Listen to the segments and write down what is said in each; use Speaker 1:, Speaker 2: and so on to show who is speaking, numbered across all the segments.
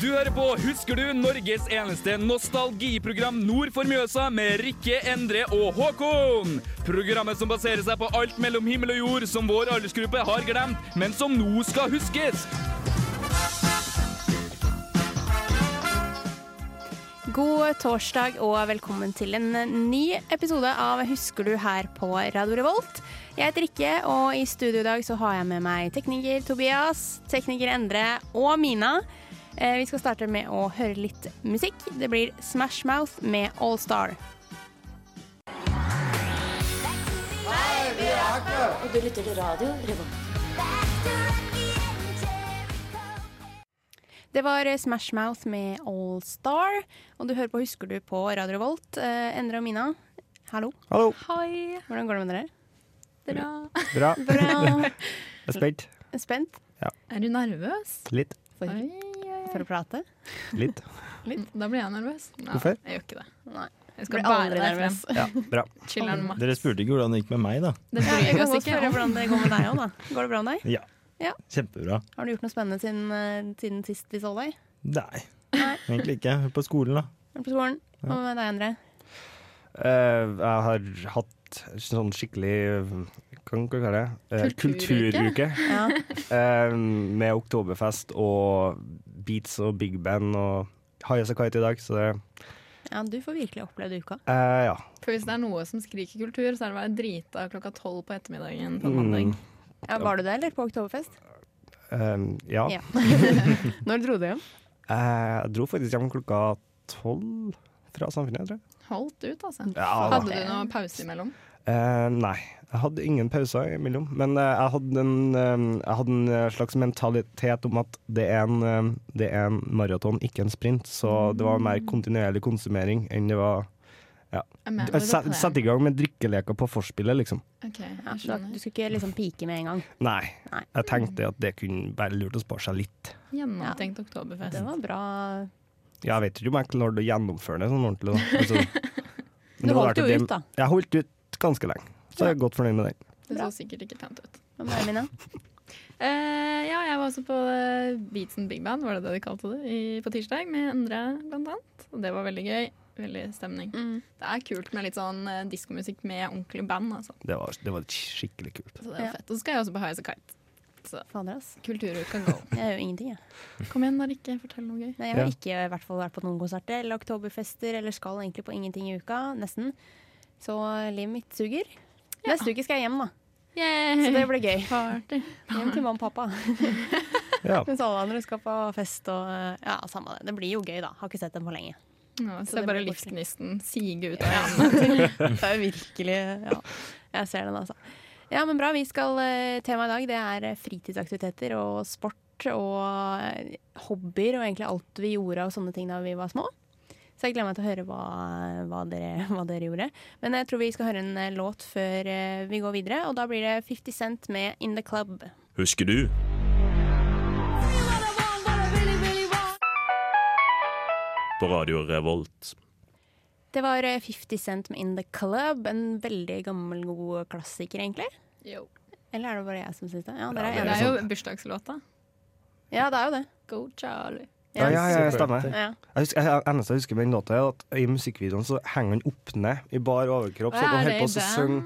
Speaker 1: Du hører på Husker du? Norges eneste nostalgiprogram nord for Mjøsa med Rikke, Endre og Håkon. Programmet som baserer seg på alt mellom himmel og jord som vår aldersgruppe har glemt, men som nå skal huskes.
Speaker 2: God torsdag og velkommen til en ny episode av Husker du her på Radio Revolt. Jeg heter Rikke, og i studio i dag så har jeg med meg tekniker Tobias, tekniker Endre og Mina. Eh, Vi skal starte med å høre litt musikk. Det blir Smash Mouth med All Star.
Speaker 3: Du lytter til radio Revolt.
Speaker 2: Det var Smash Mouth med All Star, og du hører på Husker du på Radio Revolt. Eh, Endre og Mina, hallo.
Speaker 4: Hallo.
Speaker 5: Hei,
Speaker 2: Hvordan går det med dere?
Speaker 5: bra.
Speaker 4: Bra.
Speaker 2: Bra.
Speaker 4: Jeg er spent.
Speaker 2: Spent
Speaker 5: Er du nervøs?
Speaker 4: Litt.
Speaker 5: Oi,
Speaker 2: for å prate?
Speaker 4: Litt.
Speaker 5: Da blir jeg nervøs. Nei,
Speaker 4: Hvorfor?
Speaker 5: Jeg gjør ikke det.
Speaker 2: Nei.
Speaker 5: Jeg
Speaker 2: Blir
Speaker 5: skal
Speaker 2: aldri
Speaker 5: bære deg frem.
Speaker 2: nervøs.
Speaker 4: Ja, bra.
Speaker 5: Chiller'n maks.
Speaker 4: Dere spurte ikke hvordan det gikk med meg, da.
Speaker 5: Det
Speaker 2: Ja, jeg
Speaker 5: bryr
Speaker 2: kan
Speaker 5: oss
Speaker 2: godt
Speaker 5: ikke
Speaker 2: spørre
Speaker 5: om.
Speaker 2: hvordan det går med deg òg, da. Går det bra med deg?
Speaker 4: Ja.
Speaker 2: Ja.
Speaker 4: Kjempebra.
Speaker 2: Har du gjort noe spennende siden, eh, siden sist vi så deg?
Speaker 4: Nei,
Speaker 2: Nei.
Speaker 4: egentlig ikke. På skolen, da.
Speaker 2: Eller på skolen? Hva med deg, Endre?
Speaker 4: Eh, jeg har hatt sånn skikkelig Hva kaller jeg det? Eh,
Speaker 5: Kulturuke.
Speaker 4: kulturuke,
Speaker 2: Ja.
Speaker 4: eh, med oktoberfest og beats og big band og High as a kite i dag, så det
Speaker 2: ja, du får virkelig opplevd uka.
Speaker 4: eh, Ja.
Speaker 5: For hvis det er noe som skriker kultur, så er det å være drita klokka tolv på ettermiddagen på mandag.
Speaker 4: Mm,
Speaker 2: Ja, var du det, eller? På oktoberfest?
Speaker 4: eh, ja.
Speaker 2: Ja. Når dro du hjem?
Speaker 4: Eh, jeg dro faktisk hjem klokka tolv fra Samfunnet, tror jeg.
Speaker 5: Holdt ut, altså.
Speaker 4: Ja, da.
Speaker 5: Hadde du noe pause imellom?
Speaker 4: Eh, nei, jeg hadde ingen pauser imellom. Men eh, jeg, hadde en, eh, jeg hadde en eh, slags mentalitet om at det er en, eh, det er en maraton, ikke en sprint. Så det var mer kontinuerlig konsumering enn det var
Speaker 5: Jeg mener,
Speaker 4: Jeg Sett
Speaker 5: det
Speaker 4: sett i gang med drikkeleker på forspillet, liksom.
Speaker 5: Ok,
Speaker 2: Ja,
Speaker 5: jeg
Speaker 2: så du
Speaker 5: skjønner.
Speaker 2: skulle ikke liksom pike med en gang.
Speaker 4: Nei.
Speaker 2: Nei.
Speaker 4: Jeg tenkte at det kunne være lurt å spare seg litt.
Speaker 5: Gjennomtenkt
Speaker 2: Det
Speaker 5: oktoberfest.
Speaker 2: var bra.
Speaker 4: Ja, jeg vet ikke om jeg klarte å gjennomføre det sånn ordentlig. Da. Altså,
Speaker 2: Du
Speaker 4: det var
Speaker 2: holdt
Speaker 4: verdt
Speaker 2: jo
Speaker 4: det.
Speaker 2: ut, da.
Speaker 4: Jeg holdt ut ganske lenge, så jeg er godt fornøyd med den.
Speaker 5: Det
Speaker 2: Bra.
Speaker 5: så sikkert ikke pent ut.
Speaker 2: Hva med deg, Mina?
Speaker 5: Eh, ja, jeg var også på eh, Beats and Big Band, var det det de kalte det, i, på tirsdag, med Endre blant annet. Og det var veldig gøy. Veldig stemning. Det er kult med litt sånn eh, diskomusikk med ordentlig band, altså.
Speaker 4: Det var, det var skikkelig kult.
Speaker 5: Så det er
Speaker 2: Ja.
Speaker 5: jo fett. Og så skal jeg også på High As A Kite.
Speaker 2: Fader, ass.
Speaker 5: Kulturuka go.
Speaker 2: Jeg gjør jo ingenting, jeg.
Speaker 5: Kom igjen, Marikke, fortell noe gøy.
Speaker 2: Nei, jeg har
Speaker 4: Ja.
Speaker 2: ikke i hvert fall vært på noen konserter eller oktoberfester eller skal egentlig på ingenting i uka, nesten. Så livet mitt suger. Neste uke skal jeg hjem, da. Så det
Speaker 5: Yay!
Speaker 2: blir gøy.
Speaker 5: Party.
Speaker 2: Hjem til mamma og pappa.
Speaker 4: Ja.
Speaker 2: Mens alle andre skal på fest og eh, Ja, samme det. Det blir jo gøy, da. Har ikke sett dem på lenge.
Speaker 5: Nå,
Speaker 2: Så det
Speaker 5: ser bare
Speaker 2: blir koselig.
Speaker 5: livsgnisten sige ut av øynene.
Speaker 2: Det er jo virkelig Ja, jeg ser den, altså. Ja, men bra. Vi skal eh, Temaet i dag det er eh, fritidsaktiviteter og sport og eh, hobbyer og egentlig alt vi gjorde og sånne ting da vi var små. Så jeg gleder meg til å høre hva, hva, dere, hva dere gjorde. Men jeg tror vi skal høre en eh, låt før eh, vi går videre, og da blir det 50 Cent med 'In The Club'.
Speaker 6: Husker du? På Radio Revolt.
Speaker 2: Det var eh, 50 Cent med 'In The Club'. En veldig gammel, god klassiker, egentlig.
Speaker 5: Jo.
Speaker 2: Eller er det bare jeg som syns det? Ja,
Speaker 4: Ja,
Speaker 2: dere
Speaker 4: det
Speaker 2: er
Speaker 5: Det
Speaker 2: enige.
Speaker 5: er jo bursdagslåta.
Speaker 2: Ja, det er jo det.
Speaker 5: Go Charlie.
Speaker 4: Ja, ja, ja, jeg stemmer.
Speaker 2: Ja.
Speaker 4: Jeg husker, jeg, eneste jeg husker med den låta, er at i musikkvideoen så henger han opp ned i bar overkropp. Så
Speaker 5: Hva
Speaker 4: han
Speaker 5: er
Speaker 4: holder på å
Speaker 5: det i
Speaker 4: synge.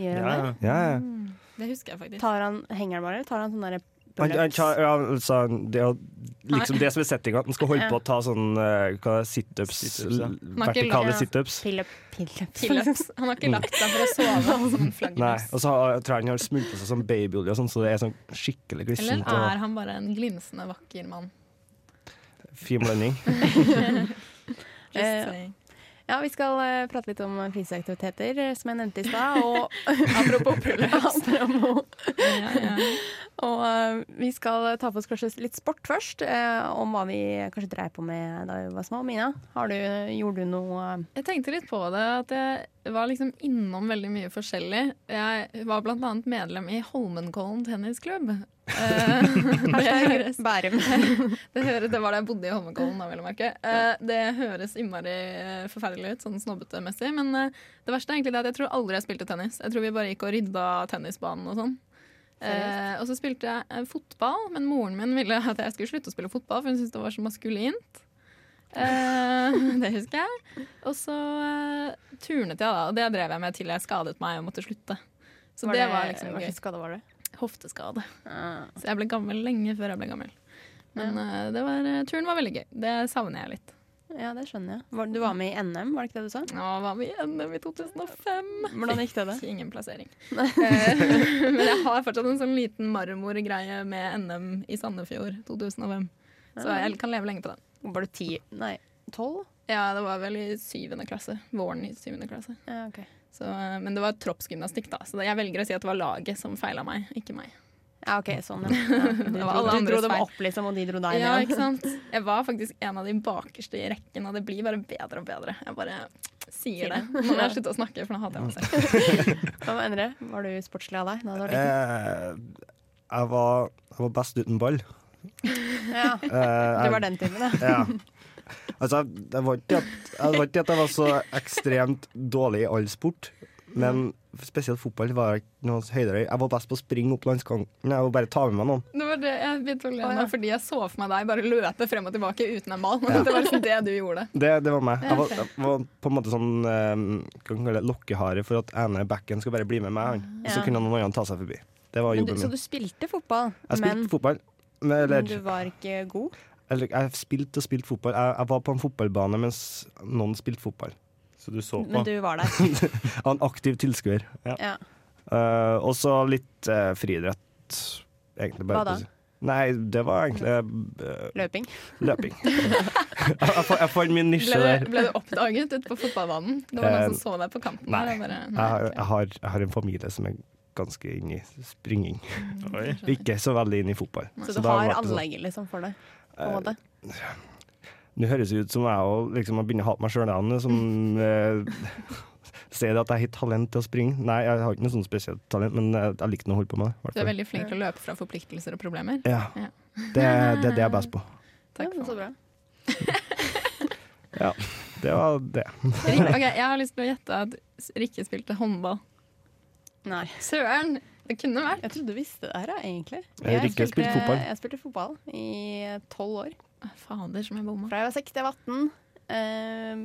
Speaker 2: Gjør han
Speaker 4: Ja,
Speaker 2: det?
Speaker 4: ja.
Speaker 5: Det husker jeg faktisk.
Speaker 2: Tar han, henger han bare, eller tar han sånn derre
Speaker 4: Han, han,
Speaker 2: pull-ups?
Speaker 4: tar- ja, altså, det, er jo liksom det som er settinga, at han skal holde
Speaker 2: Ja.
Speaker 4: på å ta sånn eh, hva er det, situps.
Speaker 6: Situps, ja.
Speaker 4: l-
Speaker 5: Man har ikke
Speaker 4: Vertikale
Speaker 2: lagt-
Speaker 4: situps.
Speaker 2: Pill-up, pill-up.
Speaker 5: Pillups. Han har ikke lagt seg for å sove som en
Speaker 4: Mm. Nei,
Speaker 5: flaggermus.
Speaker 4: Og så har- jeg tror jeg han har smurt på seg sånn babyolje, og sånn, så det er sånn skikkelig
Speaker 5: Eller
Speaker 4: glissent og
Speaker 5: er han bare en glinsende vakker mann?
Speaker 4: fin blanding.
Speaker 5: Just
Speaker 2: Eh,
Speaker 5: saying.
Speaker 2: Ja, vi skal eh, prate litt om fritidsaktiviteter, eh, som jeg nevnte i stad. Og apropos pullups.
Speaker 5: Ja, ja.
Speaker 2: og eh, vi skal ta for oss kanskje litt sport først, eh, om hva vi kanskje dreiv på med da vi var små. Mina, har du, gjorde du noe eh,
Speaker 5: Jeg tenkte litt på det, at jeg var liksom innom veldig mye forskjellig. Jeg var blant annet medlem i Holmenkollen tennisklubb. Eh, det,
Speaker 2: Bærum?
Speaker 5: det, høres, det var da jeg bodde i Holmenkollen, da, vel å merke. Eh, det høres innmari eh, forferdelig ut, sånn snobbete-messig. Men eh, det verste er egentlig det at jeg tror aldri jeg spilte tennis. Jeg tror vi bare gikk og rydda tennisbanen og sånn. Eh, og så spilte jeg eh, fotball, men moren min ville at jeg skulle slutte å spille fotball, for hun syntes det var så maskulint. Eh, det husker jeg. Og så eh, turnet jeg, da. Og det drev jeg med til jeg skadet meg og måtte slutte. Så det, var liksom
Speaker 2: Hva
Speaker 5: gøy.
Speaker 2: slags skade var det?
Speaker 5: Hofteskade. Så jeg ble gammel lenge før jeg ble gammel. Men eh, det var, eh, turen var veldig gøy. Det savner jeg litt.
Speaker 2: Ja, det skjønner jeg. Var- Du var med i NM, var det ikke det du sa?
Speaker 5: Nå var vi i NM i 2005.
Speaker 2: Hvordan gikk det? da?
Speaker 5: Ikke Ingen plassering. Eh, Men jeg har fortsatt en sånn liten marmorgreie med NM i Sandefjord 2005. Så jeg kan leve lenge på den.
Speaker 2: Var du ti? Nei, tolv?
Speaker 5: Ja, det var vel i syvende klasse. Våren i syvende klasse.
Speaker 2: Ja, ok.
Speaker 5: Så, eh, men det var troppsgymnastikk, da. Så jeg velger å si at det var laget som feila meg, ikke meg.
Speaker 2: Ja, ok, sånn. Ja. Ja. Du,
Speaker 5: Det var alle
Speaker 2: dro, du dro
Speaker 5: andres
Speaker 2: dem
Speaker 5: feil.
Speaker 2: opp, liksom, og de dro deg
Speaker 5: Ja,
Speaker 2: ned.
Speaker 5: ikke sant? Jeg var faktisk en av de bakerste i rekken, og det blir bare bedre og bedre. Jeg bare sier det. Nå må jeg slutte å snakke, for nå hater jeg meg selv.
Speaker 2: Hva med Endre? Var du sportslig av deg? Da du var liten?
Speaker 4: Eh, jeg, var, jeg var best uten ball.
Speaker 2: Ja,
Speaker 4: Eh, jeg-
Speaker 2: det var den timen, ja.
Speaker 4: Ja. Altså, det var ikke at, det var ikke at jeg var så ekstremt dårlig i all sport, men spesielt fotball var jeg ikke noe høydere i. Jeg var best på å springe opp landskanten. Jeg var bare ta med meg noen.
Speaker 5: Det var det jeg begynte å le
Speaker 2: Å, ja.
Speaker 5: nå, fordi jeg så for meg deg bare løpe frem og tilbake uten en ball. Det var liksom det du gjorde.
Speaker 4: Det, det var meg. Jeg var,
Speaker 5: Ja, ok.
Speaker 4: jeg var på en måte sånn eh, hva kan man kalle det, lokkehare for at ene backen skal bare bli med meg, han. Og
Speaker 2: Ja.
Speaker 4: så kunne noen andre ta seg forbi. Det var
Speaker 2: Men du,
Speaker 4: jobben
Speaker 2: så
Speaker 4: min.
Speaker 2: du spilte fotball,
Speaker 4: Jeg
Speaker 2: men,
Speaker 4: spilte fotball. Men,
Speaker 2: men
Speaker 4: eller,
Speaker 2: du var ikke god?
Speaker 4: eller jeg spilte og spilte fotball. Jeg, jeg var på en fotballbane mens noen spilte fotball.
Speaker 6: Så du så på.
Speaker 2: Men du var der.
Speaker 4: Jeg var en aktiv tilskuer. Ja.
Speaker 2: Ja.
Speaker 4: Eh, og så litt eh, friidrett. Egentlig bare
Speaker 2: Hva da?
Speaker 4: på si- Nei, det var egentlig eh,
Speaker 2: Løping.
Speaker 4: løping. jeg, jeg, fa- jeg fant min nisje
Speaker 5: Ble
Speaker 4: der.
Speaker 5: du, ble du oppdaget ute på fotballbanen? Det var noen som så deg på kanten?
Speaker 4: Eh,
Speaker 5: der,
Speaker 4: Nei.
Speaker 5: og bare,
Speaker 4: Jeg
Speaker 5: nei,
Speaker 4: har,
Speaker 5: ok.
Speaker 4: jeg, har, jeg har en familie som er ganske inne i springing.
Speaker 6: Oi.
Speaker 4: Ikke så veldig inne i fotball.
Speaker 2: Så du
Speaker 4: da
Speaker 2: har
Speaker 4: ble det sånn. Eh,
Speaker 2: anlegget liksom for det? På en måte.
Speaker 4: Nå høres det ut som jeg og liksom, jeg begynner å hate meg sjøl, som eh, sier at jeg har talent til å springe. Nei, jeg har ikke noe sånt spesielt talent, men jeg, jeg likte nå å holde på med det. i hvert
Speaker 5: Du er
Speaker 4: fall.
Speaker 5: veldig flink til å løpe fra forpliktelser og problemer.
Speaker 4: Ja.
Speaker 5: Ja.
Speaker 4: Det, det er det jeg er best på.
Speaker 2: ja,
Speaker 5: Takk for
Speaker 2: så bra.
Speaker 4: Ja, det var det.
Speaker 5: Rik- Ok, jeg har lyst til å gjette at Rikke spilte håndball.
Speaker 2: Nei.
Speaker 5: Søren! Det kunne vært.
Speaker 2: Jeg trodde du visste det her, ja, egentlig.
Speaker 4: Jeg har ikke spilt fotball.
Speaker 2: Jeg spilte fotball i tolv år.
Speaker 5: Å, Fader, som jeg bomma.
Speaker 2: Fra jeg var seks til jeg var 18. Ehm,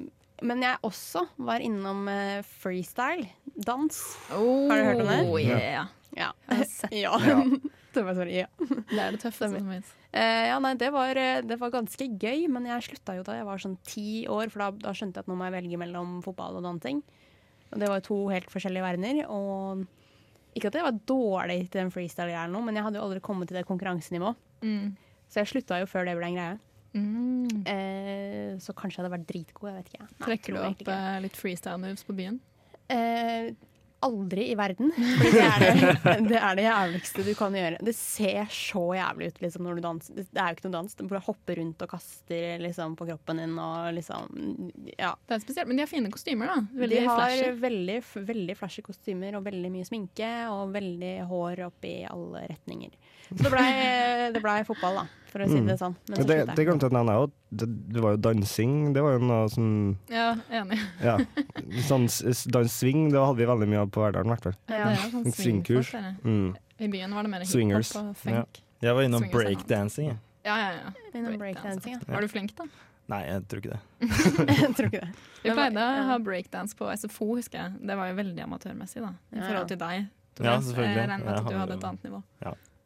Speaker 2: men jeg også var innom eh, freestyle. Dans. Har du hørt om det?
Speaker 5: Oh, yeah.
Speaker 2: Ja.
Speaker 5: Jeg har sett.
Speaker 2: ja. det var sorry, ja.
Speaker 5: Det er det tøffeste som finnes.
Speaker 2: Eh, ja, nei, det var, eh, det var ganske gøy, men jeg slutta jo da jeg var sånn ti år, for da, da skjønte jeg at nå må jeg velge mellom fotball og dansing. Og det var jo to helt forskjellige verdener. Og ikke at jeg var dårlig til den freestyle-greia, eller noe, men jeg hadde jo aldri kommet til det konkurransenivået.
Speaker 5: Mm.
Speaker 2: Så jeg slutta jo før det ble en greie.
Speaker 5: Mm.
Speaker 2: Eh, så kanskje jeg hadde vært dritgod, jeg vet ikke. Nei,
Speaker 5: Trekker
Speaker 2: tror
Speaker 5: du
Speaker 2: jeg
Speaker 5: opp
Speaker 2: egentlig ikke.
Speaker 5: eh, litt freestyle moves på byen?
Speaker 2: Eh, aldri i verden. Fordi Det er det, det er det jævligste du kan gjøre. Det ser så jævlig ut liksom, når du danser. Det det er jo ikke noe dans. Du bare hopper rundt og kaster liksom, på kroppen din og liksom Ja.
Speaker 5: Det er spesielt, Men de har fine kostymer, da. Veldig
Speaker 2: De har
Speaker 5: flashy.
Speaker 2: veldig, f- veldig flashy kostymer og veldig mye sminke og veldig hår opp i alle retninger. Så det blei ble fotball, da, for å si det sånn. Men så
Speaker 4: Mm. Det,
Speaker 2: sluttet
Speaker 4: det
Speaker 2: jeg.
Speaker 4: glemte jeg å nevne òg. Det, det var jo dansing. Det var jo noe som
Speaker 5: Ja, enig.
Speaker 4: Ja. Sånn s- s- danssving, det hadde vi veldig mye av på Verdalen, i hvert fall.
Speaker 5: Ja. Det er sånn swingkurs.
Speaker 4: Svingkurs.
Speaker 5: dere.
Speaker 4: Mm.
Speaker 5: I byen var det mer
Speaker 4: Swingers.
Speaker 5: hiphop og funk.
Speaker 7: Jeg var innom
Speaker 5: Swingers er noe annet.
Speaker 7: breakdancing. jeg.
Speaker 5: Ja, ja, ja.
Speaker 2: Innom
Speaker 5: Breakdance,
Speaker 2: breakdancing, ja.
Speaker 5: Var du flink, da?
Speaker 7: Nei, jeg tror ikke det.
Speaker 2: Jeg tror ikke det. Men
Speaker 5: Vi
Speaker 2: hva-
Speaker 5: pleide å
Speaker 2: ja.
Speaker 5: ha breakdance på SFO, husker jeg. Det var jo veldig amatørmessig, da. I
Speaker 2: Ja, ja.
Speaker 5: forhold til deg. Tobias.
Speaker 7: Ja, selvfølgelig.
Speaker 5: Jeg regner med
Speaker 7: Jeg
Speaker 5: at du
Speaker 7: har-
Speaker 5: hadde et annet nivå.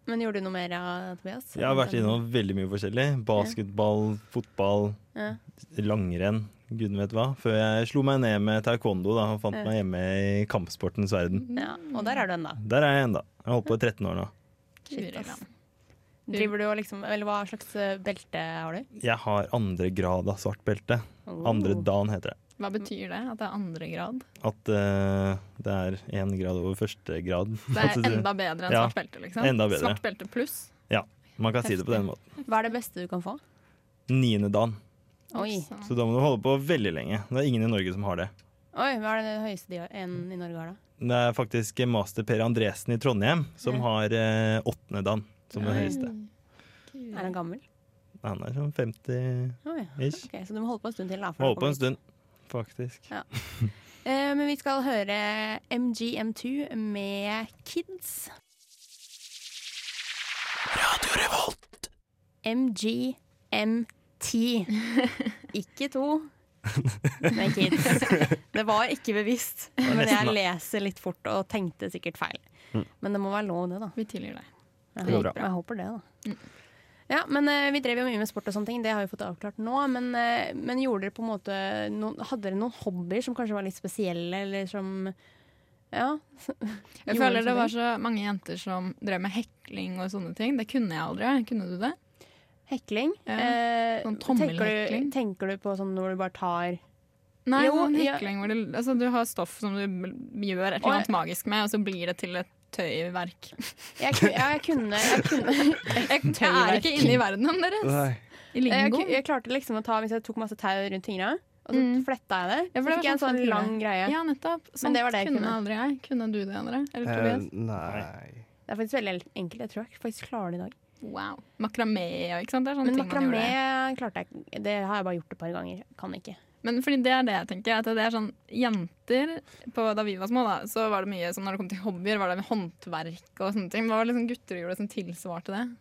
Speaker 2: Men gjorde du noe mer, ja, Tobias?
Speaker 7: Jeg har vært innom veldig mye forskjellig. Basketball, fotball,
Speaker 2: Ja.
Speaker 7: langrenn, gudene vet hva. Før jeg slo meg ned med taekwondo da, og fant
Speaker 2: Ja.
Speaker 7: meg hjemme i kampsportens verden.
Speaker 2: Ja,
Speaker 5: Mm.
Speaker 2: og der er du ennå.
Speaker 7: Der er jeg ennå. Jeg har holdt på i 13 år nå.
Speaker 2: Shit,
Speaker 5: Guri
Speaker 2: ass.
Speaker 5: land.
Speaker 2: Driver du og liksom Eller hva slags eh, belte har du?
Speaker 7: Jeg har andre grad av svart belte. Andre
Speaker 2: Oh.
Speaker 7: dan heter det.
Speaker 5: Hva betyr det? At det er andre grad?
Speaker 7: At eh, det er én grad over første grad.
Speaker 5: Det
Speaker 7: At
Speaker 5: er enda bedre enn
Speaker 7: Ja,
Speaker 5: svart belte, liksom?
Speaker 7: enda bedre.
Speaker 5: Svart belte pluss?
Speaker 7: Man kan si det på den måten.
Speaker 2: Hva er det beste du kan få?
Speaker 7: Niende dan.
Speaker 2: Oi.
Speaker 5: Så-
Speaker 7: Så da må du holde på veldig lenge. Det er ingen i Norge som har det.
Speaker 2: Oi, hva er det høyeste de har, en i Norge har, da?
Speaker 7: Det er faktisk master Per Andresen i Trondheim som
Speaker 2: Ja.
Speaker 7: har eh, åttende dan som det
Speaker 2: Oi.
Speaker 7: høyeste.
Speaker 2: Er han gammel?
Speaker 7: Han er sånn 50-ish.
Speaker 2: Oi. Ok, så du må holde på en stund til. Da, for å
Speaker 7: Holder på
Speaker 2: komme
Speaker 7: en stund, faktisk.
Speaker 2: dit. Eh, men vi skal høre MGM2 med Kids. MGMT. Ikke to. Nei, kids. Det var ikke bevisst. Men jeg leser litt fort og tenkte sikkert feil. Men det må være lov, det, da.
Speaker 5: Vi tilgir deg.
Speaker 2: Jeg
Speaker 4: Det går bra.
Speaker 2: håper, jeg håper det, da. Ja, men eh, Vi drev jo mye med sport, og sånne ting, det har vi fått avklart nå. Men, eh, men gjorde dere på en måte noen, hadde dere noen hobbyer som kanskje var litt spesielle, eller som Ja.
Speaker 5: Jeg
Speaker 2: Gjorde
Speaker 5: føler
Speaker 2: du
Speaker 5: det var
Speaker 2: sånne
Speaker 5: så mange jenter som drev med hekling og sånne ting. Det kunne jeg aldri. Kunne du det?
Speaker 2: Hekling.
Speaker 5: Ja,
Speaker 2: Eh,
Speaker 5: sånn
Speaker 2: tenker, du,
Speaker 5: tommelhekling.
Speaker 2: tenker du på sånn når du bare tar
Speaker 5: Nei,
Speaker 2: Jo,
Speaker 5: sånn
Speaker 2: ja.
Speaker 5: hekling hvor du, altså, du har stoff som du gjør et eller annet magisk med, og så blir det til et tøyverk.
Speaker 2: Jeg, ku- ja, jeg kunne, jeg kunne
Speaker 5: Jeg, jeg er ikke inne i verdenen deres.
Speaker 4: Nei.
Speaker 5: I
Speaker 2: jeg,
Speaker 5: lingo.
Speaker 2: ku- jeg klarte liksom å ta Hvis jeg tok masse tau rundt fingra, og så
Speaker 5: Mm.
Speaker 2: fletta jeg det,
Speaker 5: Ja,
Speaker 2: så
Speaker 5: for det
Speaker 2: fikk jeg en
Speaker 5: var sånn
Speaker 2: sånn
Speaker 5: fletter.
Speaker 2: lang greie.
Speaker 5: Ja, nettopp. Sånt
Speaker 2: det var det jeg
Speaker 5: kunne
Speaker 2: kunne.
Speaker 5: aldri jeg. Kunne du det, Andre? Eller
Speaker 4: Eh,
Speaker 5: Tobias?
Speaker 4: nei.
Speaker 2: Det er faktisk veldig enkelt. Jeg tror jeg faktisk klarer det i dag.
Speaker 5: Wow. Makramé, ja, ikke sant? Det er sånne
Speaker 2: Men
Speaker 5: ting man gjorde. Mm.
Speaker 2: makramé klarte jeg ikke. Det har jeg bare gjort et par ganger. Kan ikke.
Speaker 5: Men fordi det er det jeg tenker. At det er sånn Jenter på, Da vi var små, da, så var det mye sånn når det kom til hobbyer, var det håndverk og sånne ting. Hva var det liksom gutter gjorde som tilsvarte det?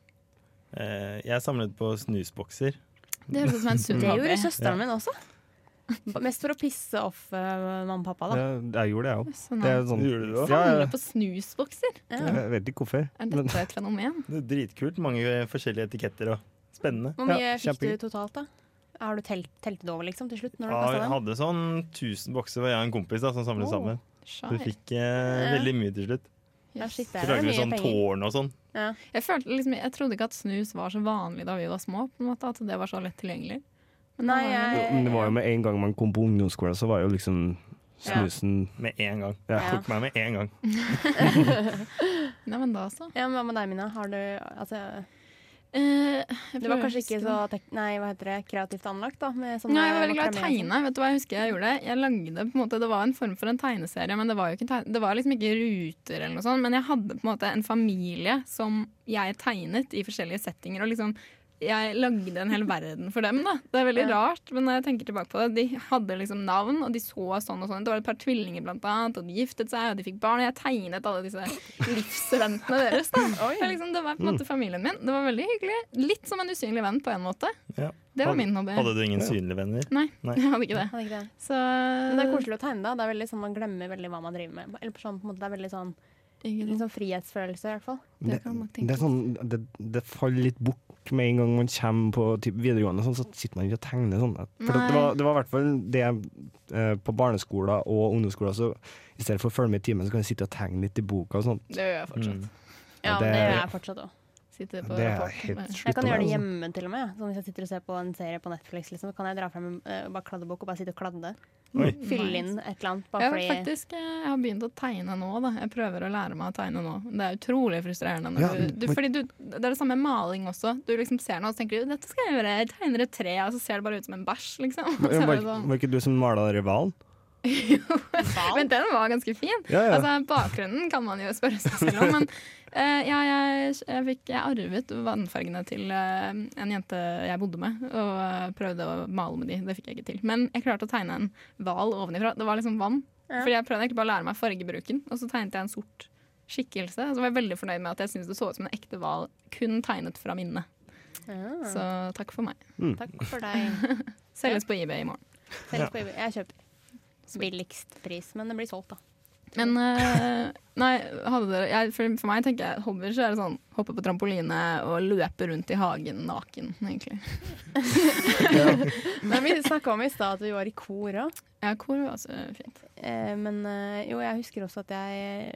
Speaker 7: Eh, Jeg samlet på snusbokser.
Speaker 5: Det høres ut som en sunn
Speaker 2: Det
Speaker 5: hobby.
Speaker 2: gjorde søsteren min også. Mest for å pisse off eh, mamma og pappa, da.
Speaker 4: Det, jeg gjorde det, jeg òg.
Speaker 5: Sånn,
Speaker 4: Det
Speaker 5: ja.
Speaker 4: er sånn
Speaker 7: Gjorde du det?
Speaker 4: Ja,
Speaker 5: Samle
Speaker 4: jeg,
Speaker 5: på snusbokser?
Speaker 2: Ja.
Speaker 4: jeg vet ikke hvorfor.
Speaker 5: Er
Speaker 4: Men
Speaker 5: dette et fenomen?
Speaker 7: Det er dritkult. Mange eh, forskjellige etiketter og spennende.
Speaker 2: Hvor mye
Speaker 4: Ja,
Speaker 2: fikk du
Speaker 4: kjempegøy.
Speaker 2: totalt, da? Har du telt, telt det over, liksom, til slutt? Når du
Speaker 7: Ja,
Speaker 2: kastet
Speaker 7: jeg
Speaker 2: den?
Speaker 7: hadde sånn 1000 bokser var jeg og en kompis da, som samlet
Speaker 2: Oh.
Speaker 7: sammen. Så vi
Speaker 5: Skjær.
Speaker 7: fikk eh, veldig mye til slutt.
Speaker 2: Ja, shit,
Speaker 7: Så
Speaker 2: der er det
Speaker 7: lagde vi
Speaker 2: mye
Speaker 7: sånn
Speaker 2: penger.
Speaker 7: tårn og sånn.
Speaker 2: Ja.
Speaker 5: Jeg, følte liksom, jeg trodde ikke at snus var så vanlig da vi var små, på en måte, at det var så lett tilgjengelig. Men
Speaker 2: Nei,
Speaker 5: da var det-
Speaker 2: jeg,
Speaker 4: Men det var jo med en gang man kom på ungdomsskolen, så var jo liksom snusen
Speaker 7: Med en gang.
Speaker 4: Ja.
Speaker 7: Tok meg med en gang.
Speaker 5: Nei, men da så.
Speaker 2: Ja, men Hva med deg, Mina? Har du, altså,
Speaker 5: Eh, jeg
Speaker 2: det var
Speaker 5: prøver å
Speaker 2: kanskje ikke
Speaker 5: huske
Speaker 2: så tek nei, hva heter det, kreativt anlagt? da med sånne
Speaker 5: Nei, jeg var veldig glad i å
Speaker 2: makramé og sånn.
Speaker 5: tegne. Vet du hva jeg husker jeg gjorde? Jeg lagde på en måte, Det var en form for en tegneserie, men det var, jo ikke en tegne, det var liksom ikke ruter eller noe sånt. Men jeg hadde på en måte en familie som jeg tegnet i forskjellige settinger. og liksom jeg lagde en hel verden for dem. da Det er veldig rart, men når jeg tenker tilbake på det De hadde liksom navn, og de så sånn og sånn. Det var et par tvillinger, blant annet, og de giftet seg, og de fikk barn. Og jeg tegnet alle disse livseventene deres. da Det er liksom, Det var på en måte familien min. Det var veldig hyggelig. Litt som en usynlig venn på en måte.
Speaker 7: Ja.
Speaker 5: Det var
Speaker 7: Hadde-
Speaker 5: min hobby.
Speaker 7: Hadde du ingen synlige venner?
Speaker 5: Nei,
Speaker 7: Nei.
Speaker 5: jeg hadde ikke det.
Speaker 2: Hadde ikke det.
Speaker 5: Så
Speaker 2: Men det er koselig å tegne, da. Det er veldig sånn, Man glemmer veldig hva man driver med. Eller på sånn, på en måte, det er veldig sånn, litt sånn frihetsfølelse, i hvert fall.
Speaker 5: Det kan man tenke
Speaker 4: det, er sånn, det, det faller litt bort med en gang man kommer på typ, videregående, sånn, så sitter man ikke og tegner sånn. For at
Speaker 5: Nei.
Speaker 4: det var, det var i hvert fall det eh, på barneskoler og ungdomsskoler, så i stedet for å følge med i timen, så kan jeg sitte og tegne litt i boka og sånn.
Speaker 5: Det gjør jeg fortsatt.
Speaker 2: Ja,
Speaker 4: det-
Speaker 2: men det gjør jeg fortsatt òg.
Speaker 5: Sitter på
Speaker 4: Det er
Speaker 5: rapporten
Speaker 4: helt
Speaker 5: bare.
Speaker 4: slutt
Speaker 2: Jeg kan
Speaker 4: med,
Speaker 2: gjøre det
Speaker 4: altså.
Speaker 2: hjemme til og med. ja. Sånn Hvis jeg sitter og ser på en serie på Netflix, liksom, så kan jeg dra frem en eh, bare kladdebok og bare sitte og kladde.
Speaker 7: Oi.
Speaker 2: Fylle inn et eller annet.
Speaker 5: Jeg
Speaker 2: Bare
Speaker 5: har
Speaker 2: fordi
Speaker 5: faktisk eh, jeg har begynt å tegne nå. Da. Jeg prøver å lære meg å tegne nå. Det er utrolig frustrerende. Når
Speaker 4: Ja,
Speaker 5: du, du,
Speaker 4: men-
Speaker 5: fordi du, det er det samme med maling også. Du liksom ser noe og så tenker du, dette skal jeg gjøre. Jeg tegner et tre, og så ser det bare ut som en bæsj. Liksom. Og så
Speaker 4: Var,
Speaker 5: er
Speaker 4: var,
Speaker 5: det sånn.
Speaker 4: var ikke du som malet rivalen?
Speaker 5: Men den var ganske fin.
Speaker 4: Ja, ja.
Speaker 5: Altså, bakgrunnen kan man jo spørre seg selv om. Men eh, ja, jeg, jeg, fikk, jeg arvet vannfargene til eh, en jente jeg bodde med, og eh, prøvde å male med de. Det fikk jeg ikke til. Men jeg klarte å tegne en hval ovenifra. Det var liksom vann.
Speaker 2: Ja.
Speaker 5: Fordi jeg prøvde egentlig bare å lære meg fargebruken, og så tegnet jeg en sort skikkelse. Og så var jeg veldig fornøyd med at jeg syntes det så ut som en ekte hval, kun tegnet fra minnet.
Speaker 2: ja,
Speaker 5: Så takk for meg.
Speaker 2: Takk for deg.
Speaker 5: Selges på eBay i morgen.
Speaker 2: Selg på eBay. Jeg kjøper. Billigst pris, men det blir solgt, da.
Speaker 5: Men eh, nei, hadde dere jeg, for, for meg tenker jeg hobbyer så er det sånn hoppe på trampoline og løpe rundt i hagen naken, egentlig.
Speaker 2: Men vi snakka om i stad at vi var i kor òg.
Speaker 5: Ja, kor var så fint.
Speaker 2: Eh, men eh, jo, jeg husker også at jeg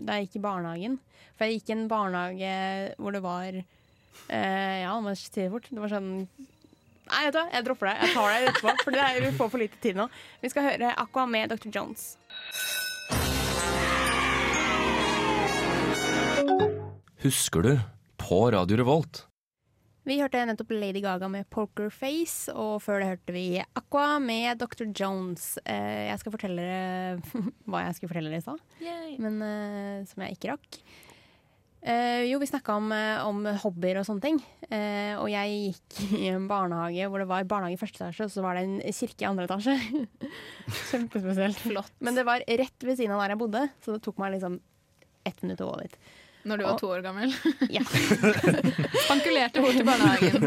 Speaker 2: Da jeg gikk i barnehagen For jeg gikk i en barnehage hvor det var eh, Ja, man sier det fort. Det var sånn Nei, vet du hva, jeg dropper deg. Jeg tar deg etterpå, for det er, vi får for lite tid nå. Vi skal høre Aqua med Dr. Jones.
Speaker 8: Husker du? På Radio Revolt.
Speaker 2: Vi hørte nettopp Lady Gaga med 'Pokerface', og før det hørte vi Aqua med Dr. Jones. Eh, jeg skal fortelle dere hva jeg skulle fortelle dere i stad. men eh, som jeg ikke rakk. Eh, jo, vi snakka om, eh, om hobbyer og sånne ting. Eh, og jeg gikk i en barnehage hvor det var barnehage i første etasje, og så var det en kirke i andre etasje. Kjempespesielt. Flott. Men det var rett ved siden av der jeg bodde, så det tok meg liksom ett minutt å gå dit.
Speaker 5: Når du var
Speaker 2: Og-
Speaker 5: to år gammel.
Speaker 2: Ja.
Speaker 5: Spankulerte bort til barnehagen.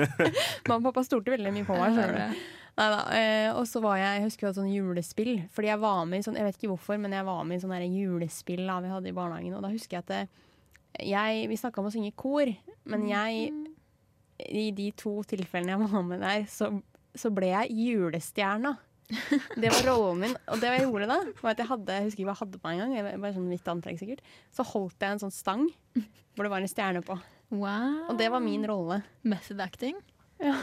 Speaker 2: Mamma og pappa stolte veldig mye på meg. skjønner du. Neida, eh, og så var jeg, jeg husker jo et sånn julespill. Fordi jeg var med i sånn, jeg vet ikke hvorfor, men jeg var med i sånn der julespill da vi hadde i barnehagen. Og da husker jeg at det, jeg, vi snakka om å synge i kor, men
Speaker 5: Mm.
Speaker 2: jeg I de to tilfellene jeg var med der, så, så ble jeg julestjerna. Det var rollen min. Og det jeg gjorde da, var at jeg hadde jeg husker ikke hva jeg hadde på meg engang. jeg var- Bare sånn hvitt antrekk, sikkert. Så holdt jeg en sånn stang hvor det var en stjerne på.
Speaker 5: Wow.
Speaker 2: Og det var min rolle.
Speaker 5: Method acting. Ja.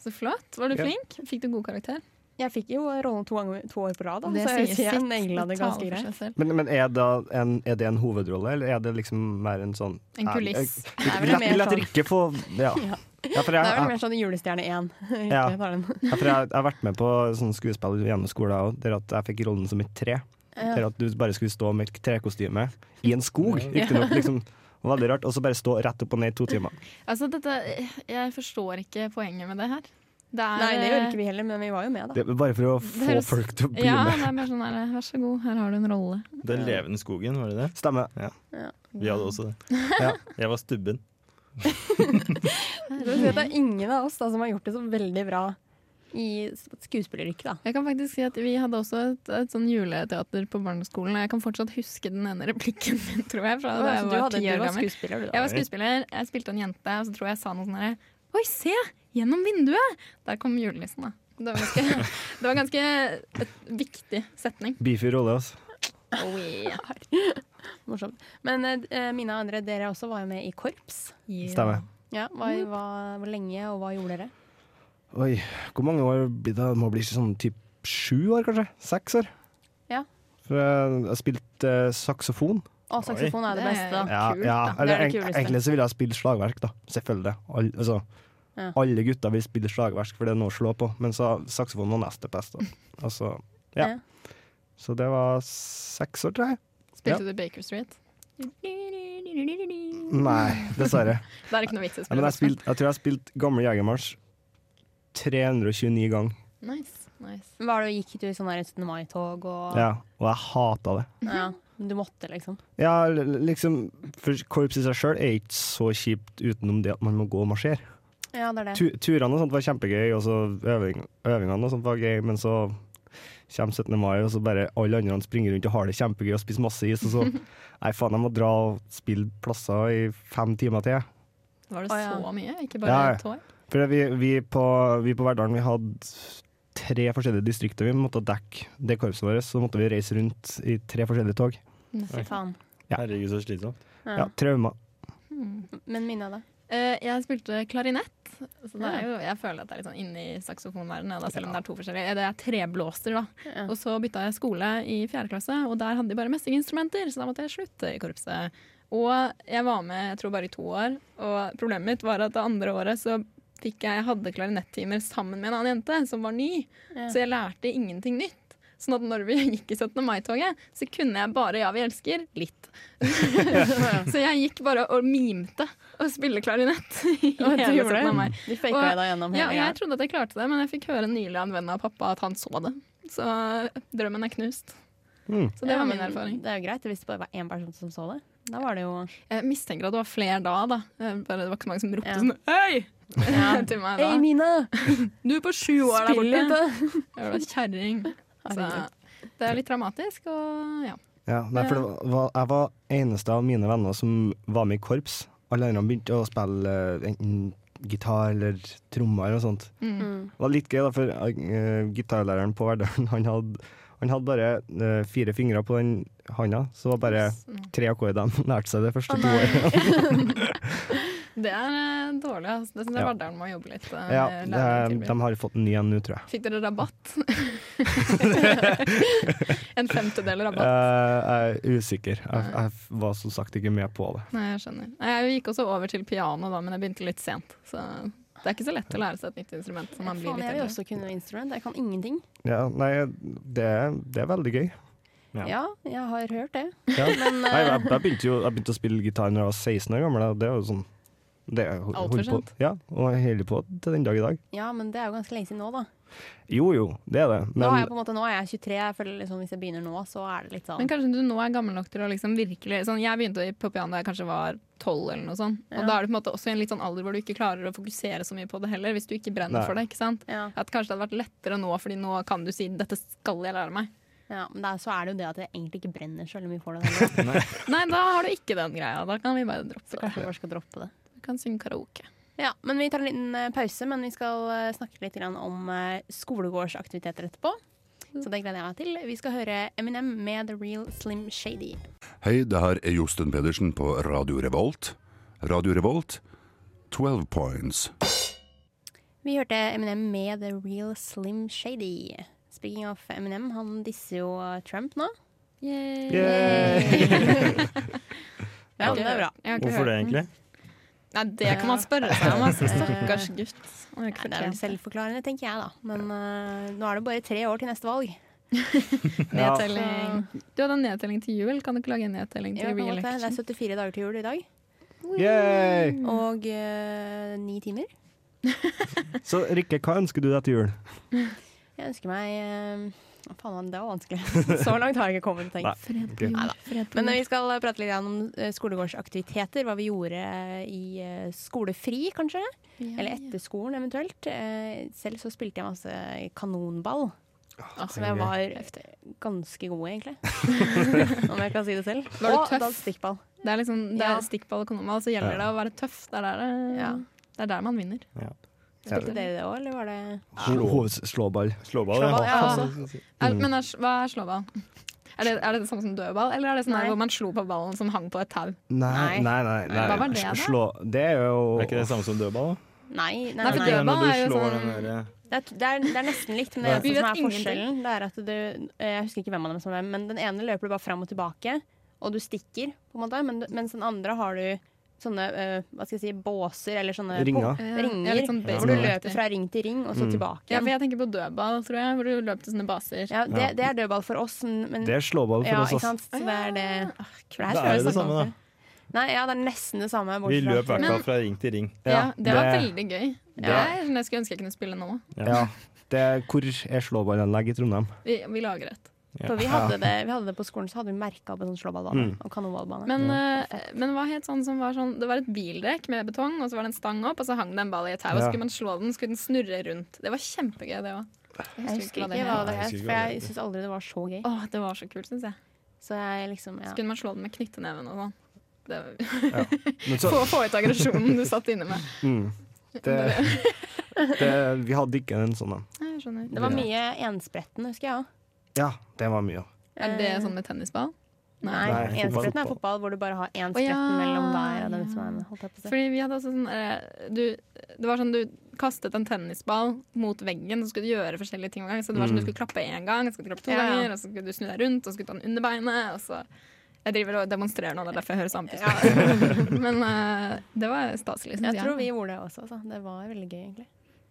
Speaker 5: Så flott. Var du
Speaker 4: Ja.
Speaker 5: flink? Fikk du god karakter?
Speaker 2: Jeg fikk jo rollen to, ganger, to år på rad, da,
Speaker 5: Det
Speaker 2: så jeg
Speaker 5: sier
Speaker 2: sier jeg
Speaker 5: sitt.
Speaker 2: naila det
Speaker 5: Det taler
Speaker 2: ganske
Speaker 5: for
Speaker 2: greit.
Speaker 5: seg selv.
Speaker 4: Men, men er, det en, er det en hovedrolle, eller er det liksom mer en sånn
Speaker 5: En kuliss.
Speaker 4: Eh, eh,
Speaker 2: Det er vel
Speaker 4: Vi lar- vi
Speaker 2: mer
Speaker 4: lar
Speaker 2: sånn-
Speaker 4: dere ikke få Ja.
Speaker 2: Ja.
Speaker 4: ja for jeg,
Speaker 2: Da er det
Speaker 4: jeg,
Speaker 2: mer sånn Julestjerne 1.
Speaker 4: Ja.
Speaker 2: Jeg tar den.
Speaker 4: ja, for jeg, jeg har vært med på sånn skuespill gjennom skolen òg, der at jeg fikk rollen som et tre. Der at du bare skulle stå med et trekostyme i en skog, riktignok. Liksom, det var veldig rart. Og så bare stå rett opp og ned i to timer.
Speaker 5: Altså, dette, jeg forstår ikke poenget med det her. Det er,
Speaker 2: Nei, det gjorde ikke vi heller, men vi var jo med, da.
Speaker 4: Det, er bare for å
Speaker 5: Det
Speaker 4: få
Speaker 5: høres-
Speaker 4: folk til å bli
Speaker 5: Ja,
Speaker 4: med.
Speaker 5: det er bare sånn her, vær så god, her har du en rolle.
Speaker 7: Den levende skogen, var det det?
Speaker 4: Stemmer.
Speaker 7: Vi hadde også det.
Speaker 4: Ja.
Speaker 7: Jeg var stubben.
Speaker 2: Du vet, det er ingen av oss da, som har gjort det så veldig bra i skuespilleryrket, da.
Speaker 5: Jeg kan faktisk si at Vi hadde også et, et sånn juleteater på barneskolen. og Jeg kan fortsatt huske den ene replikken min, tror jeg. fra da jeg
Speaker 2: du,
Speaker 5: var
Speaker 2: hadde,
Speaker 5: ti
Speaker 2: du
Speaker 5: år
Speaker 2: var
Speaker 5: gammel.
Speaker 2: skuespiller, du, da.
Speaker 5: Jeg var skuespiller, jeg spilte en jente, og så tror jeg jeg sa noe sånn her Oi, se! Gjennom vinduet! Der kom julenissen, da. Det var ganske, det var ganske et viktig setning.
Speaker 4: Beefy rolle, altså.
Speaker 5: Oh, yeah.
Speaker 2: Morsomt. Men eh, Mina og andre, dere også var jo med i korps.
Speaker 4: Stemmer.
Speaker 2: Ja, hva, hva, Hvor lenge, og hva gjorde dere?
Speaker 4: Oi, hvor mange år blir det? Det må bli sånn typ sju år, kanskje? Seks år.
Speaker 2: Ja.
Speaker 4: For jeg jeg spilte eh, saksofon.
Speaker 2: Å, saksofon er det
Speaker 5: Det er-
Speaker 2: beste, da.
Speaker 4: Ja,
Speaker 2: Det
Speaker 5: Kult, da.
Speaker 4: ja.
Speaker 2: er
Speaker 4: Eller,
Speaker 2: det
Speaker 4: eng-
Speaker 2: kuleste.
Speaker 4: Egentlig så ville jeg spille slagverk, da. Selvfølgelig. All, altså,
Speaker 2: Ja.
Speaker 4: Alle gutter vil spille slagverk, for det er noe å slå på. Men så saksofon var neste best. Da. Altså, ja.
Speaker 2: Ja.
Speaker 4: Så det var seks år, tror jeg.
Speaker 5: Spilte du Baker Street?
Speaker 4: Nei, dessverre.
Speaker 5: Det er ikke noe vits i å
Speaker 4: Ja, men
Speaker 5: spille.
Speaker 4: jeg, spilt, jeg tror jeg spilte Gamle Jegermarsj 329 ganger.
Speaker 5: Nice, nice.
Speaker 2: Var det, gikk du i sånn der 17. mai-tog og
Speaker 4: Ja, og jeg hata det.
Speaker 2: ja, Du måtte, liksom.
Speaker 4: Ja, l- liksom, for Korps i seg sjøl er ikke så kjipt utenom det at man må gå og marsjere.
Speaker 2: Ja, det er det.
Speaker 4: Tu- Turene og sånt var kjempegøy, og så øving, øvingene og sånt var gøy, men så kommer 17. mai, og så bare alle andre springer rundt og har det kjempegøy og spiser masse is, og så Nei, faen, jeg må dra og spille plasser i fem timer til.
Speaker 5: Var det
Speaker 2: Å, ja.
Speaker 5: så mye? Ikke
Speaker 4: Ja,
Speaker 5: bare
Speaker 4: ja.
Speaker 5: et år?
Speaker 4: For vi, vi på, vi på Verdalen, vi hadde tre forskjellige distrikter vi måtte dekke det korpset vårt, så måtte vi reise rundt i tre forskjellige tog.
Speaker 2: Fy faen.
Speaker 4: Ja.
Speaker 7: Herregud, så slitsomt.
Speaker 2: Ja.
Speaker 4: Ja, traumer.
Speaker 2: Men Mina, da?
Speaker 5: Eh, jeg spilte klarinett. Så det er jo, jeg føler at det er litt sånn inne i saksofonverdenen. da, Selv om det er to forskjellige. Eh, Det er treblåser, da.
Speaker 2: Ja.
Speaker 5: Og så bytta jeg skole i fjerde klasse, og der hadde de bare mestringsinstrumenter, så da måtte jeg slutte i korpset. Og jeg var med jeg tror bare i to år, og problemet mitt var at det andre året så fikk jeg, jeg hadde klarinettimer sammen med en annen jente som var ny, så jeg lærte ingenting nytt. Sånn at når vi gikk i 17. mai-toget, så kunne jeg bare 'Ja, vi elsker' litt. så jeg gikk bare og mimte å spille klarinett i
Speaker 2: Å, du
Speaker 5: hele
Speaker 2: gjorde
Speaker 5: 17.
Speaker 2: det?
Speaker 5: mai.
Speaker 2: Du faka
Speaker 5: Og-
Speaker 2: jeg da gjennom
Speaker 5: Ja,
Speaker 2: hele
Speaker 5: jeg
Speaker 2: greia.
Speaker 5: trodde at jeg klarte det, men jeg fikk høre nylig av en venn av pappa at han så det. Så eh, drømmen er knust.
Speaker 4: Mm.
Speaker 5: Så det
Speaker 2: Ja,
Speaker 5: var min
Speaker 2: men
Speaker 5: erfaring.
Speaker 2: Det er jo greit, hvis det bare var én person som så det. Da var det jo
Speaker 5: Jeg mistenker at det var flere da, da. Jeg Bare, det var ikke så mange som ropte
Speaker 2: Ja.
Speaker 5: sånn Hei! til meg da.
Speaker 2: Hei, Mina!
Speaker 5: Du på sju år der
Speaker 2: Spill
Speaker 5: borte!
Speaker 2: litt!
Speaker 5: Jeg var da kjerring. Så det er litt dramatisk, og ja.
Speaker 4: Ja, nei, for det var, jeg var eneste av mine venner som var med i korps. Alle andre begynte å spille eh, enten gitar eller trommer eller noe sånt.
Speaker 2: Mm.
Speaker 5: Mm.
Speaker 4: Det var litt gøy, da, for eh, gitarlæreren på Verdalen han hadde, han hadde bare eh, fire fingre på den handa, så det var bare tre akkorder han lærte seg det første to året.
Speaker 5: Det er eh, dårlig, altså. Det syns jeg
Speaker 4: Ja.
Speaker 5: Verdalen må jobbe litt. eh,
Speaker 4: Ja,
Speaker 5: med
Speaker 4: det, er-
Speaker 5: lærertilbud.
Speaker 4: de har fått en ny en nå, tror jeg.
Speaker 5: Fikk dere rabatt? en femtedel rabatt.
Speaker 4: Eh, jeg er usikker. Jeg, jeg var som sagt ikke med på det.
Speaker 5: Nei, jeg skjønner. Nei, Jeg gikk også over til piano da, men jeg begynte litt sent. Så det er ikke så lett å lære seg et nytt instrument. Så man blir
Speaker 2: Faen,
Speaker 5: litt
Speaker 2: jeg vil
Speaker 5: eldre.
Speaker 2: også kunne instrument. Jeg kan ingenting.
Speaker 4: Ja, nei, det, det er veldig gøy.
Speaker 7: Ja.
Speaker 2: Ja, jeg har hørt det.
Speaker 4: Ja.
Speaker 2: Men
Speaker 4: Nei,
Speaker 2: eh,
Speaker 4: jeg, jeg, begynte jo, jeg begynte å spille gitar når jeg var 16 år gammel. da. Det er jo sånn Det er-
Speaker 5: for
Speaker 4: holder på-
Speaker 5: sent.
Speaker 4: Ja, og holder på til den dag i dag.
Speaker 2: Ja, men det er jo ganske lenge siden nå, da.
Speaker 4: Jo jo, det er det,
Speaker 2: Nå er
Speaker 4: men
Speaker 2: jeg, på en måte, nå er jeg 23. Jeg føler liksom, Hvis jeg begynner nå, så er det litt sånn
Speaker 5: Men kanskje du nå er gammel nok til å liksom virkelig sånn, Jeg begynte på piano da jeg kanskje var tolv eller noe sånt.
Speaker 2: Ja.
Speaker 5: Og da er du på en måte også i en litt sånn alder hvor du ikke klarer å fokusere så mye på det heller, hvis du ikke brenner
Speaker 4: Nei.
Speaker 5: for det. ikke sant?
Speaker 2: ja,
Speaker 5: At kanskje det hadde vært lettere nå, fordi nå kan du si 'dette skal jeg lære meg'.
Speaker 2: ja, men det er, så er det jo det at jeg egentlig ikke brenner så veldig mye for det. heller.
Speaker 5: Nei, da har du ikke den greia. Da kan vi bare
Speaker 2: Så
Speaker 5: droppe det.
Speaker 2: kanskje jeg bare skal droppe det.
Speaker 5: Du kan synge karaoke.
Speaker 2: Ja, men Vi tar en liten eh, pause, men vi skal eh, snakke litt grann om eh, skolegårdsaktiviteter etterpå. Så det gleder jeg meg til. Vi skal høre Eminem med The Real Slim Shady.
Speaker 9: Hei, det her er Josten Pedersen på Radio Revolt. Radio Revolt, 12 points.
Speaker 2: Vi hørte Eminem med The Real Slim Shady. Speaking of Eminem, han disser jo eh, Trump nå. Ja, men det er bra.
Speaker 5: Jeg har ikke
Speaker 7: Hvorfor
Speaker 5: hørt
Speaker 7: det,
Speaker 5: den.
Speaker 7: egentlig?
Speaker 5: Nei, det kan man spørre seg om. Altså. Stakkars gutt. Han har
Speaker 2: Nei,
Speaker 5: ikke
Speaker 2: det er vel
Speaker 5: fortjent det.
Speaker 2: selvforklarende, tenker jeg da. Men eh, nå er det bare tre år til neste valg.
Speaker 5: Nedtelling. Du hadde en nedtelling til jul. Kan du ikke lage en nedtelling
Speaker 2: Ja, på
Speaker 5: til
Speaker 2: en måte. det er
Speaker 5: re-election?
Speaker 2: 74 dager til jul i dag,
Speaker 4: Yay!
Speaker 2: og eh, ni timer.
Speaker 4: Så Rikke, hva ønsker du deg til jul?
Speaker 2: Jeg ønsker meg eh, Å, Faen, det var vanskelig. Så langt har jeg ikke kommet. tenk.
Speaker 4: Nei.
Speaker 2: Neida. Men
Speaker 5: Mm.
Speaker 2: eh, vi skal eh, prate litt grann om eh, skolegårdsaktiviteter. Hva vi gjorde eh, i eh, skolefri, kanskje. Eller etter skolen, eventuelt. Eh, Selv så spilte jeg masse kanonball. Som jeg var ganske god i, egentlig. Om jeg kan si det selv.
Speaker 5: Var du
Speaker 2: Og
Speaker 5: tøff?
Speaker 2: dansestikkball.
Speaker 5: Det er liksom det
Speaker 2: Ja.
Speaker 5: er stikkball og kanonball, så gjelder det å være tøff. Det er der, det-
Speaker 2: Ja.
Speaker 5: det er der man vinner.
Speaker 2: Spilte dere det òg, eller var det
Speaker 4: Ho- hovs- Slåball.
Speaker 7: Slåball,
Speaker 2: Slåball, ja.
Speaker 7: ja. Mm.
Speaker 5: Er, men er, hva er slåball? Er det, er det det samme som dødball, eller er det sånn
Speaker 2: Nei.
Speaker 5: der hvor man slo på ballen som hang på et tau?
Speaker 4: Nei, nei, nei. nei.
Speaker 5: Hva var det, da?
Speaker 4: Slå, det er jo
Speaker 7: Er ikke det samme som dødball? da?
Speaker 2: Nei, nei,
Speaker 5: Nei, for
Speaker 2: nei.
Speaker 5: det- Dødball
Speaker 7: når du
Speaker 5: er jo
Speaker 7: slår
Speaker 5: sånn-
Speaker 7: den der- eh,
Speaker 2: Det, er, det, er, det er nesten likt, men det
Speaker 5: Vi
Speaker 2: eneste som
Speaker 5: vet
Speaker 2: er forskjellen, det er at du eh, Jeg husker ikke hvem av dem som er, men den ene løper du bare fram og tilbake, og du stikker, på en måte, men, mens den andre har du sånne eh, hva skal jeg si, båser eller sånne
Speaker 4: Ringer.
Speaker 2: på- ringer.
Speaker 5: Ja, litt sånn
Speaker 2: Hvor du
Speaker 5: baseball-aktig.
Speaker 2: løper fra ring til ring, og så tilbake
Speaker 5: Ja, for
Speaker 2: igjen.
Speaker 5: jeg tenker på dødball, tror jeg, hvor du løp til sånne baser.
Speaker 2: Ja, det, det er dødball for oss, men men-
Speaker 4: Det er slåball for
Speaker 2: ja,
Speaker 4: oss.
Speaker 2: ikke
Speaker 4: ass.
Speaker 2: sant? Så det er det
Speaker 5: Ah,
Speaker 2: Åh, for her
Speaker 7: Da
Speaker 2: skal
Speaker 7: er
Speaker 2: vi
Speaker 7: det det
Speaker 2: snakke om
Speaker 7: samme, da.
Speaker 2: Nei, ja, det er nesten det samme.
Speaker 7: Vi
Speaker 2: bortsett fra
Speaker 7: løp i
Speaker 2: at-
Speaker 7: hvert fall fra ring til ring.
Speaker 5: Ja, det, var
Speaker 4: det-
Speaker 5: veldig gøy. Det er sånn jeg skulle ønske jeg kunne spille nå.
Speaker 4: Ja. Det er, hvor er slåballanlegg i Trondheim?
Speaker 5: Vi, vi lager et.
Speaker 2: For vi hadde, det, vi hadde det på skolen, så hadde vi merka på sånn slåballbane og kanonballbane.
Speaker 5: Men, eh, men hva het sånn som var sånn Det var et bildekk med betong, og så var det en stang opp, og så hang det en ball i et tau. Og
Speaker 4: Ja.
Speaker 5: skulle man slå den, skulle den snurre rundt. Det var kjempegøy, det òg.
Speaker 2: Jeg husker ikke hva det het, for jeg syns aldri det var så gøy.
Speaker 5: Åh, det var så kult, syns jeg.
Speaker 2: Så jeg liksom, ja.
Speaker 5: Så kunne man slå den med knyttneven og sånn. Det var,
Speaker 4: Men så,
Speaker 5: få, få ut aggresjonen du satt inne med.
Speaker 4: mm, det, det, vi hadde ikke en sånn en.
Speaker 5: Ja, Jeg skjønner.
Speaker 2: Det var mye enspretten, husker jeg òg.
Speaker 4: Ja, det var mye.
Speaker 5: Er det sånn med tennisball?
Speaker 2: Nei,
Speaker 4: Nei,
Speaker 2: enspretten er
Speaker 4: fotball.
Speaker 2: fotball hvor du bare har én
Speaker 5: Å,
Speaker 2: spretten
Speaker 5: ja,
Speaker 2: mellom deg og den
Speaker 5: ja.
Speaker 2: som er med. Holdt jeg på å si.
Speaker 5: Fordi vi hadde altså sånn eh, du, Det var sånn du kastet en tennisball mot veggen, så skulle du gjøre forskjellige ting hver gang. Så det var sånn du skulle klappe én gang, så skulle du klappe to
Speaker 2: Ja, ja.
Speaker 5: ganger, og så skulle du snu deg rundt, og så skulle du ta den under beinet, og så Jeg driver og demonstrerer nå, det er derfor jeg hører samtidig. Men eh, det var staselig, syns jeg.
Speaker 2: Jeg tror vi gjorde det også. Så. Det var veldig gøy, egentlig.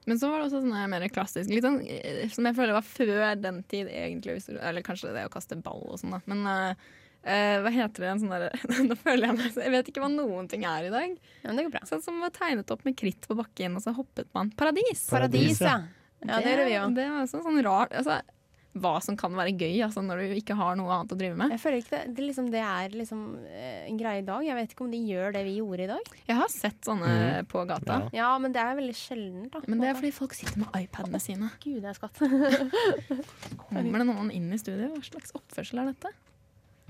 Speaker 5: Men så var det også sånn her mer klassisk, litt sånn, eh, som jeg føler var før den tid, egentlig. Hvis du, eller kanskje det å kaste ball og sånn, da. Men eh, eh, hva heter det? En sånn der, nå føler jeg meg så- Jeg vet ikke hva noen ting er i dag.
Speaker 2: Ja, men det går bra.
Speaker 5: Sånn som var tegnet opp med kritt på bakken, og så hoppet man. Paradis!
Speaker 2: Paradis, ja. Ja, det gjorde vi òg.
Speaker 5: Det var også sånn rart. Altså, hva som kan være gøy altså, når du ikke har noe annet å drive med.
Speaker 2: Jeg føler ikke det, det, liksom, det er liksom eh, en greie i dag. Jeg vet ikke om de gjør det vi gjorde i dag.
Speaker 5: Jeg har sett sånne på gata.
Speaker 2: Ja, men det er veldig sjeldent, da.
Speaker 5: Men det er fordi folk sitter med iPadene sine.
Speaker 2: Gud, jeg er skatt.
Speaker 5: Kommer det noen inn i studio? Hva slags oppførsel er dette?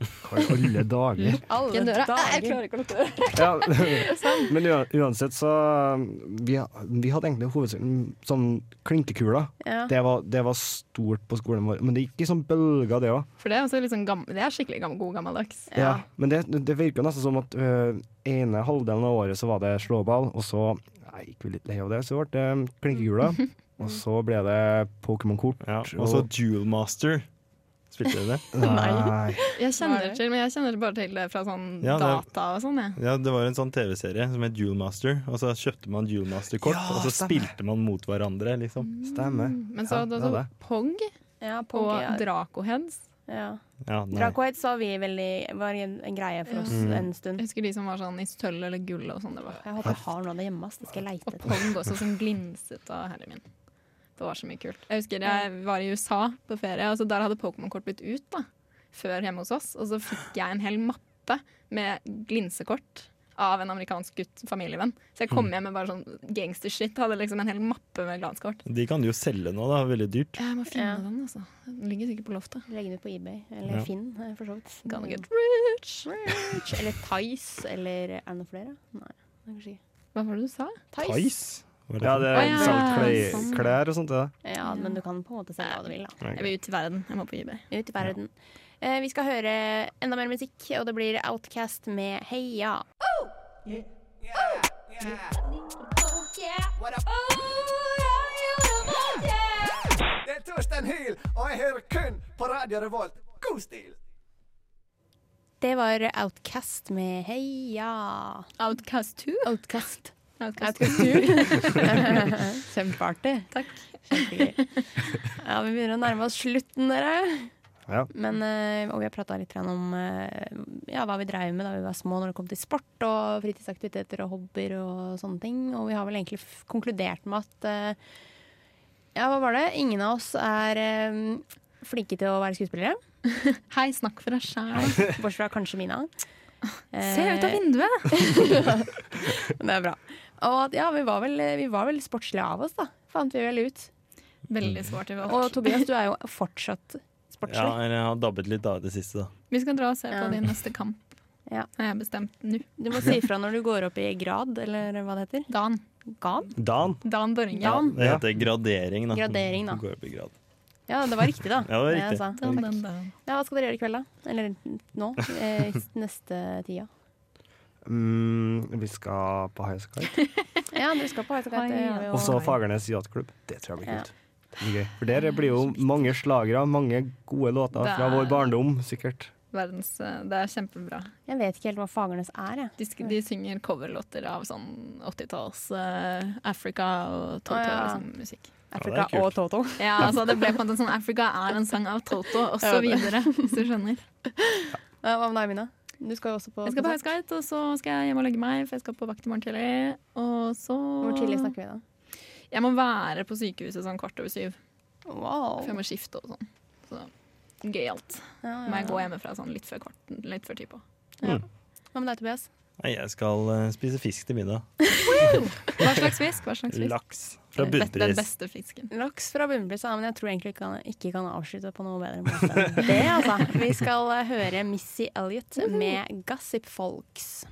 Speaker 4: Hva i alle dager?
Speaker 2: Alle
Speaker 5: Ikke døra. Nei, Jeg
Speaker 2: dager.
Speaker 5: klarer ikke å lukke døra.
Speaker 4: Ja, men ua- uansett så Vi, vi hadde egentlig hovedsakelig sånn klinkekula.
Speaker 2: Ja.
Speaker 4: Det var, det var stort på skolen vår, men det gikk i sånn bølger, det òg.
Speaker 5: For det er, også litt sånn gam- det er skikkelig gam- god gammeldags.
Speaker 4: Ja. Men det, det virka nesten som at øh, ene halvdelen av året så var det slåball, og så jeg gikk vi litt lei av det, så ble det klinkekula. Og så ble det Pokémon-kort.
Speaker 7: Ja. Og så Duel Master. Spilte dere det?
Speaker 4: Nei.
Speaker 2: Hva
Speaker 5: Jeg
Speaker 2: er
Speaker 5: kjenner
Speaker 2: det?
Speaker 5: til, men jeg kjenner bare til det fra sånn
Speaker 7: Ja, det er-
Speaker 5: data og sånn. jeg.
Speaker 7: Ja, Det var en sånn TV-serie som het Duel Master. Og så kjøpte man Duel Master-kort,
Speaker 4: Ja,
Speaker 7: og så
Speaker 4: stemmer.
Speaker 7: spilte man mot
Speaker 5: Mm.
Speaker 7: hverandre, liksom.
Speaker 4: Stemmer.
Speaker 5: Men så
Speaker 4: Ja,
Speaker 5: hadde
Speaker 4: det er
Speaker 5: du
Speaker 4: det.
Speaker 5: Pog
Speaker 2: Ja,
Speaker 5: og
Speaker 2: Pog, ja.
Speaker 5: Dracoheads.
Speaker 2: Ja.
Speaker 7: Ja, nei.
Speaker 2: Drag Queens var, vi veldig, var en, en greie for oss
Speaker 5: Ja.
Speaker 2: en stund.
Speaker 5: Jeg husker de som var sånn i sølv eller gull og sånn. Det var
Speaker 2: Jeg håper jeg har noe av det hjemme. ass. Det skal jeg leite
Speaker 5: Og
Speaker 2: etter.
Speaker 5: Pong også, som glinset av herre min. Det var så mye kult. Jeg husker jeg var i USA på ferie, og så der hadde Pokémon-kort blitt ut da, før hjemme hos oss. Og så fikk jeg en hel mappe med glinsekort av en amerikansk gutt, familievenn. Så jeg kom hjem med bare sånn gangstershit. Hadde liksom en hel mappe med glanskort.
Speaker 7: De kan du jo selge nå, da. Veldig dyrt.
Speaker 5: Jeg må finne
Speaker 2: Ja.
Speaker 5: den, altså. Den ligger sikkert på loftet.
Speaker 2: Legge den ut på eBay eller
Speaker 7: Ja.
Speaker 2: Finn, eh, for så vidt.
Speaker 5: Gonna get
Speaker 2: rich. Eller Tice, eller er det noen flere? Nei, det er kanskje ikke.
Speaker 5: Hva var det du sa?
Speaker 7: Tice? Hva er det
Speaker 4: Ja,
Speaker 7: for
Speaker 4: det
Speaker 7: noe?
Speaker 5: Å,
Speaker 4: er
Speaker 5: ja,
Speaker 4: solgt klei-
Speaker 5: sånn.
Speaker 4: klær og sånt. det da.
Speaker 2: Ja, men du kan på en måte selge hva du vil. da.
Speaker 5: Jeg vil ut i verden. Jeg må på eBay.
Speaker 2: Ut i verden. Eh, vi skal høre enda mer musikk, og det blir Outcast med Heia.
Speaker 10: Det er Torstein Hyl, og jeg hører kun på Radio Revolt. God stil!
Speaker 2: Det var Outcast med Heia.
Speaker 5: Outcast 2?
Speaker 2: Outcast.
Speaker 5: Outcast 2.
Speaker 2: Outcast 2. Kjempeartig.
Speaker 5: Takk.
Speaker 2: Kjempegøy. Ja, vi begynner å nærme oss slutten, dere.
Speaker 4: Ja.
Speaker 2: Men, eh, og vi har prata litt grann om eh, ja, hva vi dreiv med da vi var små når det kom til sport og fritidsaktiviteter og hobbyer og sånne ting. Og vi har vel egentlig f konkludert med at eh, ja, hva var det? Ingen av oss er eh, flinke til å være skuespillere.
Speaker 5: Hei, snakk for deg sjæl.
Speaker 2: Bortsett fra kanskje Mina.
Speaker 5: Se ut av vinduet!
Speaker 2: Eh, Det er bra. Og at, ja, vi var, vel, vi var vel sportslige av oss, da. Fant vi vel ut.
Speaker 5: Veldig svart i valg.
Speaker 2: Og Tobias, du er jo fortsatt
Speaker 7: Ja,
Speaker 2: sportslig.
Speaker 7: eller jeg har dabbet litt da i det siste, da.
Speaker 5: Vi skal dra og se
Speaker 2: Ja.
Speaker 5: på din neste kamp.
Speaker 2: Ja.
Speaker 5: Har jeg bestemt nå.
Speaker 2: Du må si ifra når du går opp i grad, eller hva det heter.
Speaker 5: Dan.
Speaker 2: Gan?
Speaker 7: Dan.
Speaker 5: Dan Børringe.
Speaker 2: Dan.
Speaker 7: Det
Speaker 4: Ja.
Speaker 7: heter gradering, da.
Speaker 2: Gradering, da.
Speaker 7: Du Går opp i grad.
Speaker 2: Ja, det var riktig, da.
Speaker 7: Ja, det var
Speaker 2: jeg
Speaker 7: riktig.
Speaker 2: sa.
Speaker 5: Dan, dan, dan.
Speaker 2: Ja, hva skal dere gjøre i kveld, da? Eller nå? Eh, neste tida?
Speaker 4: Mm, vi skal på high skate.
Speaker 2: Ja, dere skal på Highasakite. det har vi jo-
Speaker 4: Og så Fagernes yachtklubb. Det tror jeg blir
Speaker 2: Ja.
Speaker 4: kult. Det blir Gøy. For der blir jo mange slagere, mange gode låter fra vår barndom, sikkert.
Speaker 5: Verdens, eh, det er kjempebra.
Speaker 2: Jeg vet ikke helt hva Fagernes er, jeg.
Speaker 5: De, sk- de synger coverlåter av sånn 80-talls eh, Africa og Toto
Speaker 2: Å, ja.
Speaker 5: liksom, musikk.
Speaker 2: Afrika
Speaker 7: kult.
Speaker 2: og Toto.
Speaker 5: Ja, altså det ble på en måte sånn Africa er en sang av Toto, og
Speaker 2: Ja,
Speaker 5: så
Speaker 2: det-
Speaker 5: videre, hvis du skjønner.
Speaker 2: Ja, Hva med deg, Mina? Du skal jo også på
Speaker 5: Jeg skal på
Speaker 2: konsert.
Speaker 5: Highskite, og så skal jeg hjem og legge meg, for jeg skal på vakt i morgen tidlig. Og så
Speaker 2: Hvor tidlig snakker vi da?
Speaker 5: Jeg må være på sykehuset sånn kvart over syv,
Speaker 2: Wow.
Speaker 5: for jeg må skifte og sånn. Så gøyalt.
Speaker 2: Ja,
Speaker 5: Må jeg
Speaker 2: ja.
Speaker 5: gå hjemmefra sånn litt før, kvart, litt før tid på.
Speaker 2: Hva med deg, Tobias?
Speaker 7: Nei, jeg skal eh, spise fisk til middag.
Speaker 5: Hva slags fisk? Hva slags fisk? Eh,
Speaker 7: Laks fra
Speaker 5: Den beste- Den
Speaker 7: Bunnpris.
Speaker 5: beste fisken.
Speaker 2: Laks fra Bunnpris, ja, men jeg tror egentlig ikke kan, ikke kan avslutte på noe bedre måte enn det. Altså. Vi skal eh, høre Missy Elliot med 'Gossip Folks'.